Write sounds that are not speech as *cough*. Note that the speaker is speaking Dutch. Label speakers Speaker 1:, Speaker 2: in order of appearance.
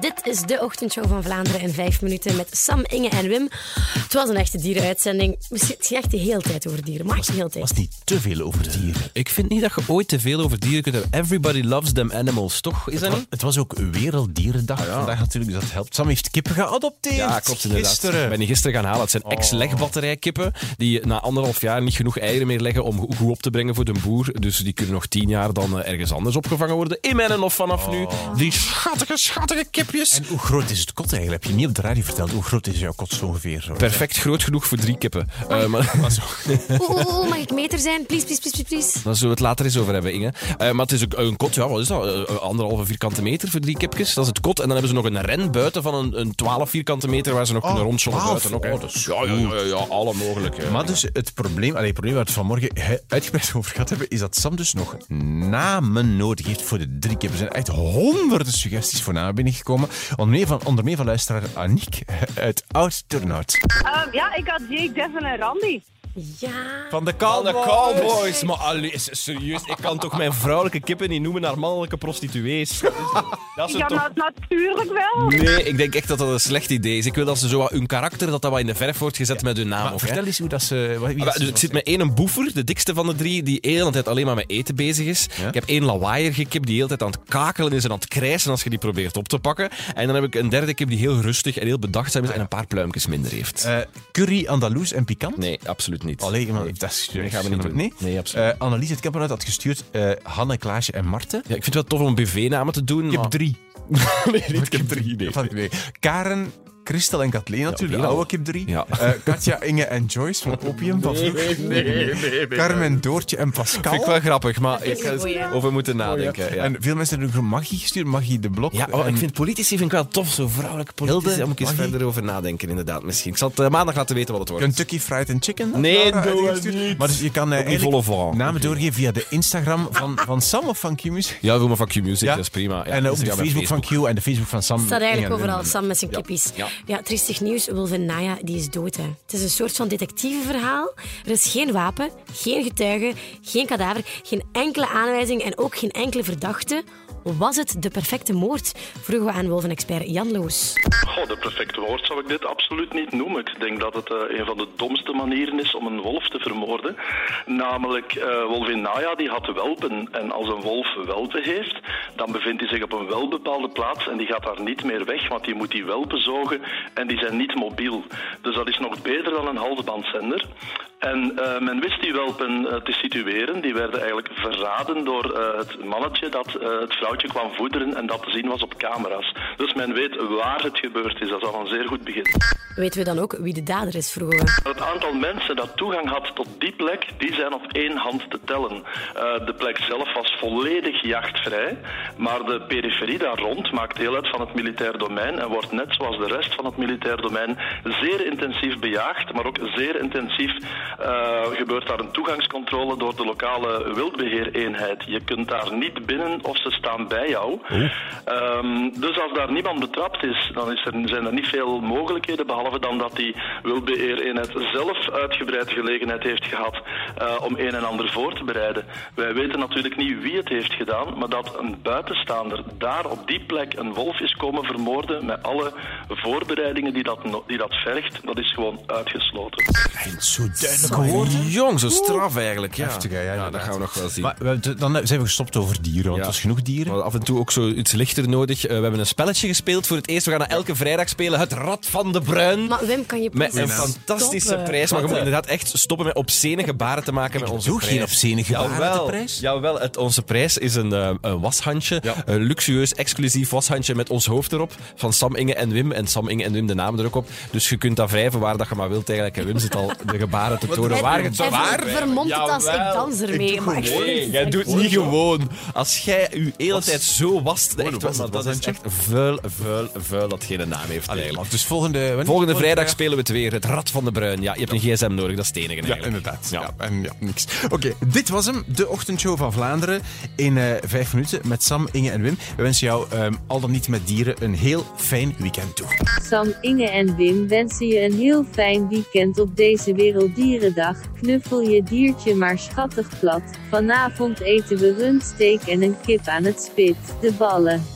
Speaker 1: Dit is de ochtendshow van Vlaanderen in vijf minuten met Sam, Inge en Wim. Het was een echte dierenuitzending. Misschien het ging echt de hele tijd over dieren, maar echt de hele tijd.
Speaker 2: was niet te veel over dieren.
Speaker 3: Ik vind niet dat je ooit te veel over dieren kunt hebben. Everybody loves them animals, toch? Is dat niet?
Speaker 2: Het was ook Werelddierendag vandaag natuurlijk, dus dat helpt. Sam heeft kippen geadopteerd
Speaker 3: Ah, Ja, klopt inderdaad. Ik
Speaker 2: gisteren. Oh.
Speaker 3: ben die gisteren gaan halen. Het zijn ex-legbatterijkippen die na anderhalf jaar niet genoeg eieren meer leggen om goed op te brengen voor de boer. Dus die kunnen nog tien jaar dan eh, ergens anders opgevangen worden. In mijn of vanaf nu. Die schattige, schattige
Speaker 2: Oh.
Speaker 3: kipjes.
Speaker 2: En hoe groot is het kot eigenlijk? Heb je niet op de radio verteld? Hoe groot is jouw kot zo ongeveer? Zo?
Speaker 3: Perfect groot genoeg voor drie kippen. Eh, maar,
Speaker 1: Oeh, oeh, oeh, mag ik meter zijn? Please, please, please, please, please.
Speaker 3: daar zullen we het later eens over hebben, Inge. Eh, maar het is ook een kot, ja, wat is dat? Eh, anderhalve vierkante meter voor drie kipjes. Dat is het kot. En dan hebben ze nog een ren buiten van een, een 12 vierkante meter waar ze nog kunnen rondzonnen
Speaker 2: 12.
Speaker 3: buiten. Ook, hè. Dus,
Speaker 2: Oh, dat is
Speaker 3: ja, ja, ja, ja, alle mogelijke.
Speaker 2: Maar dus het probleem, allee, het probleem waar we het vanmorgen he- uitgebreid over gehad hebben, is dat Sam dus nog namen nodig heeft voor de drie keer. Er zijn echt honderden suggesties voor namen binnengekomen. Onder meer van, onder meer van luisteraar Aniek uit Oud-Turnhout.
Speaker 4: Ehm, ja, ik had Jake, Devin en Randy.
Speaker 1: Ja.
Speaker 2: Van de
Speaker 3: Van de Cowboys. Maar allee, s- serieus, ik kan toch mijn vrouwelijke kippen niet noemen naar mannelijke prostituees? Dat is, dat is
Speaker 4: Ik had
Speaker 3: toch...
Speaker 4: dat nou, natuurlijk wel.
Speaker 3: Nee, ik denk echt dat dat een slecht idee is. Ik wil dat ze zo wat hun karakter, dat dat wat in de verf wordt gezet met hun naam. ook, hè.
Speaker 2: Vertel eens hoe dat ze... Wat, wie dat
Speaker 3: Ah, wel,
Speaker 2: ze
Speaker 3: dus ik
Speaker 2: was.
Speaker 3: zit met één boever, de dikste van de drie, die de hele tijd alleen maar met eten bezig is.
Speaker 2: Ja?
Speaker 3: Ik heb één lawaaierige kip die de hele tijd aan het kakelen is en aan het krijsen als je die probeert op te pakken. En dan heb ik een derde kip die heel rustig en heel bedachtzaam is en een paar pluimpjes minder heeft.
Speaker 2: Eh, curry Andaloes en pikant?
Speaker 3: Nee, absoluut niet.
Speaker 2: Allee, maar dat is...
Speaker 3: Nee, gaan we niet doen.
Speaker 2: Nee?
Speaker 3: Nee, absoluut.
Speaker 2: Eh, Annelies uit Kemperuit had gestuurd eh, Hanne, Klaasje en Marten.
Speaker 3: Ja, ik vind het wel tof om BV-namen te doen.
Speaker 2: Ik heb
Speaker 3: maar-
Speaker 2: drie. *laughs*
Speaker 3: Nee, niet kip drie, Ah. nee.
Speaker 2: Van- nee. Karen, Christel en Kathleen natuurlijk, de
Speaker 3: wel.
Speaker 2: oude kip 3.
Speaker 3: Ja.
Speaker 2: Katja, Inge en Joyce van Opium van vroeger. Carmen, Doortje en Pascal.
Speaker 3: Vind ik wel grappig, maar ik
Speaker 1: is
Speaker 3: ga
Speaker 1: een
Speaker 3: eens
Speaker 1: goeie.
Speaker 3: over moeten nadenken. ja.
Speaker 2: Oh, En veel mensen hebben ook Maggie gestuurd, Maggie de Blok. Eh,
Speaker 3: Ja, oh,
Speaker 2: en
Speaker 3: ik vind politici vind ik wel tof, zo vrouwelijke politici.
Speaker 2: Hilde,
Speaker 3: Daar moet ik eens
Speaker 2: mag je?
Speaker 3: verder over nadenken, inderdaad. Misschien. Ik zal het eh, maandag laten weten wat het wordt.
Speaker 2: Kentucky Fried and Chicken. had
Speaker 3: Nee,
Speaker 2: Laura
Speaker 3: doe het
Speaker 2: uitgestuurd.
Speaker 3: niet.
Speaker 2: Maar dus je kan eh,
Speaker 3: Ook niet
Speaker 2: eigenlijk
Speaker 3: vol of wat.
Speaker 2: namen doorgeven via de Instagram van, van Sam of van Q Music.
Speaker 3: Ja, wil maar van Q-Music, dat is prima. Ja,
Speaker 2: en ook de
Speaker 3: Instagram
Speaker 2: Facebook, van Q en de Facebook van Sam.
Speaker 1: Het staat eigenlijk
Speaker 2: Inge en
Speaker 1: overal,
Speaker 2: Wim.
Speaker 1: Sam met zijn kippies.
Speaker 3: Ja.
Speaker 1: Ja, triestig nieuws, Wilvin Naya, die is dood. Hè. Het is een soort van detectiveverhaal. Er is geen wapen, geen getuige, geen kadaver, geen enkele aanwijzing en ook geen enkele verdachte. Was het de perfecte moord? Vroegen we aan Wolven-expert Jan Loos.
Speaker 5: Goh, de perfecte woord zou ik dit absoluut niet noemen. Ik denk dat het eh, een van de domste manieren is om een wolf te vermoorden. Namelijk, eh wolvin Naya die had welpen. En als een wolf welpen heeft, dan bevindt hij zich op een welbepaalde plaats en die gaat daar niet meer weg, want die moet die welpen zogen en die zijn niet mobiel. Dus dat is nog beter dan een halsbandzender. En eh, men wist die welpen eh, te situeren. Die werden eigenlijk verraden door eh, het mannetje dat eh, het vrouwtje kwam voederen en dat te zien was op camera's. Dus men weet waar het gebeurd is. Dat is al een zeer goed begin.
Speaker 1: Weten we dan ook wie de dader is, vroegen we.
Speaker 5: Het aantal mensen dat toegang had tot die plek, die zijn op één hand te tellen. Eh, de plek zelf was volledig jachtvrij, maar de periferie daar rond maakt deel uit van het militair domein en wordt net zoals de rest van het militair domein zeer intensief bejaagd, maar ook zeer intensief eh, gebeurt daar een toegangscontrole door de lokale wildbeheereenheid. Je kunt daar niet binnen of ze staan bij jou. Ehm, dus als daar niemand betrapt is, dan is er, zijn er niet veel mogelijkheden, behalve dan dat die wildbeheereenheid zelf uitgebreid gelegenheid heeft gehad eh, om een en ander voor te bereiden. Wij weten natuurlijk niet wie het heeft gedaan, maar dat een buitenstaander daar op die plek een wolf is komen vermoorden met alle voorbereidingen die dat, no- die dat vergt, dat is gewoon uitgesloten.
Speaker 2: En zo duidelijk
Speaker 3: Jong, zo straf eigenlijk. Ja,
Speaker 2: Heftig, hè, ja,
Speaker 3: dat
Speaker 2: inderdaad.
Speaker 3: gaan we nog wel zien.
Speaker 2: Maar we- de- dan eh, zijn we gestopt over dieren, want
Speaker 3: Ja.
Speaker 2: het was genoeg
Speaker 3: We
Speaker 2: dieren.
Speaker 3: hadden af en toe ook zo iets lichter nodig. Eh, we hebben een spelletje gespeeld voor het eerst. We gaan dat elke vrijdag spelen. Het Rad van de Bruin.
Speaker 1: Maar Wim, kan je
Speaker 3: Met een
Speaker 1: please
Speaker 3: fantastische
Speaker 1: stoppen?
Speaker 3: prijs. Maar je moet inderdaad echt stoppen met obscene gebaren te maken met onze
Speaker 2: doe
Speaker 3: prijs.
Speaker 2: geen obscene gebaren met de prijs.
Speaker 3: Jawel, het, onze prijs is een, eh, een washandje. Een luxueus, exclusief washandje met ons hoofd erop. Van Sam, Inge en Wim. En Sam, Inge en Wim de naam er ook op. Dus je kunt dat wrijven waar dat je maar wilt eigenlijk. En Wim zit al de gebaren te tonen.
Speaker 1: En-
Speaker 3: Waar je het
Speaker 1: en
Speaker 3: waar?
Speaker 1: vermomd het als ik dans ermee. maar echt,
Speaker 3: Nee, jij doet niet gewoon. Als jij je hele tijd zo wast, echt,
Speaker 2: was
Speaker 3: wel,
Speaker 2: het
Speaker 3: dat is echt vuil, vuil, vuil dat geen naam heeft eigenlijk.
Speaker 2: Dus volgende... wanneer-
Speaker 3: Volgende vrijdag spelen we het weer. Het Rad van de Bruin. Ja, je hebt een gsm nodig, dat is het enige
Speaker 2: Ja,
Speaker 3: eigenlijk.
Speaker 2: inderdaad. Ja. en ja, niks. Oké, dit was hem. De ochtendshow van Vlaanderen in eh, vijf minuten met Sam, Inge en Wim. We wensen jou, ehm, al dan niet met dieren, een heel fijn weekend toe.
Speaker 6: Sam, Inge en Wim wensen je een heel fijn weekend op deze Werelddierendag. Knuffel je diertje maar schattig plat. Vanavond eten we rundsteek en een kip aan het spit. De ballen.